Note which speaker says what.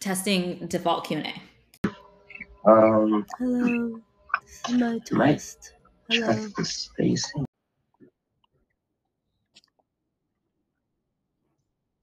Speaker 1: testing default Q and A.
Speaker 2: Um,
Speaker 3: Hello. This is my twist. Hello.
Speaker 2: check the spacing.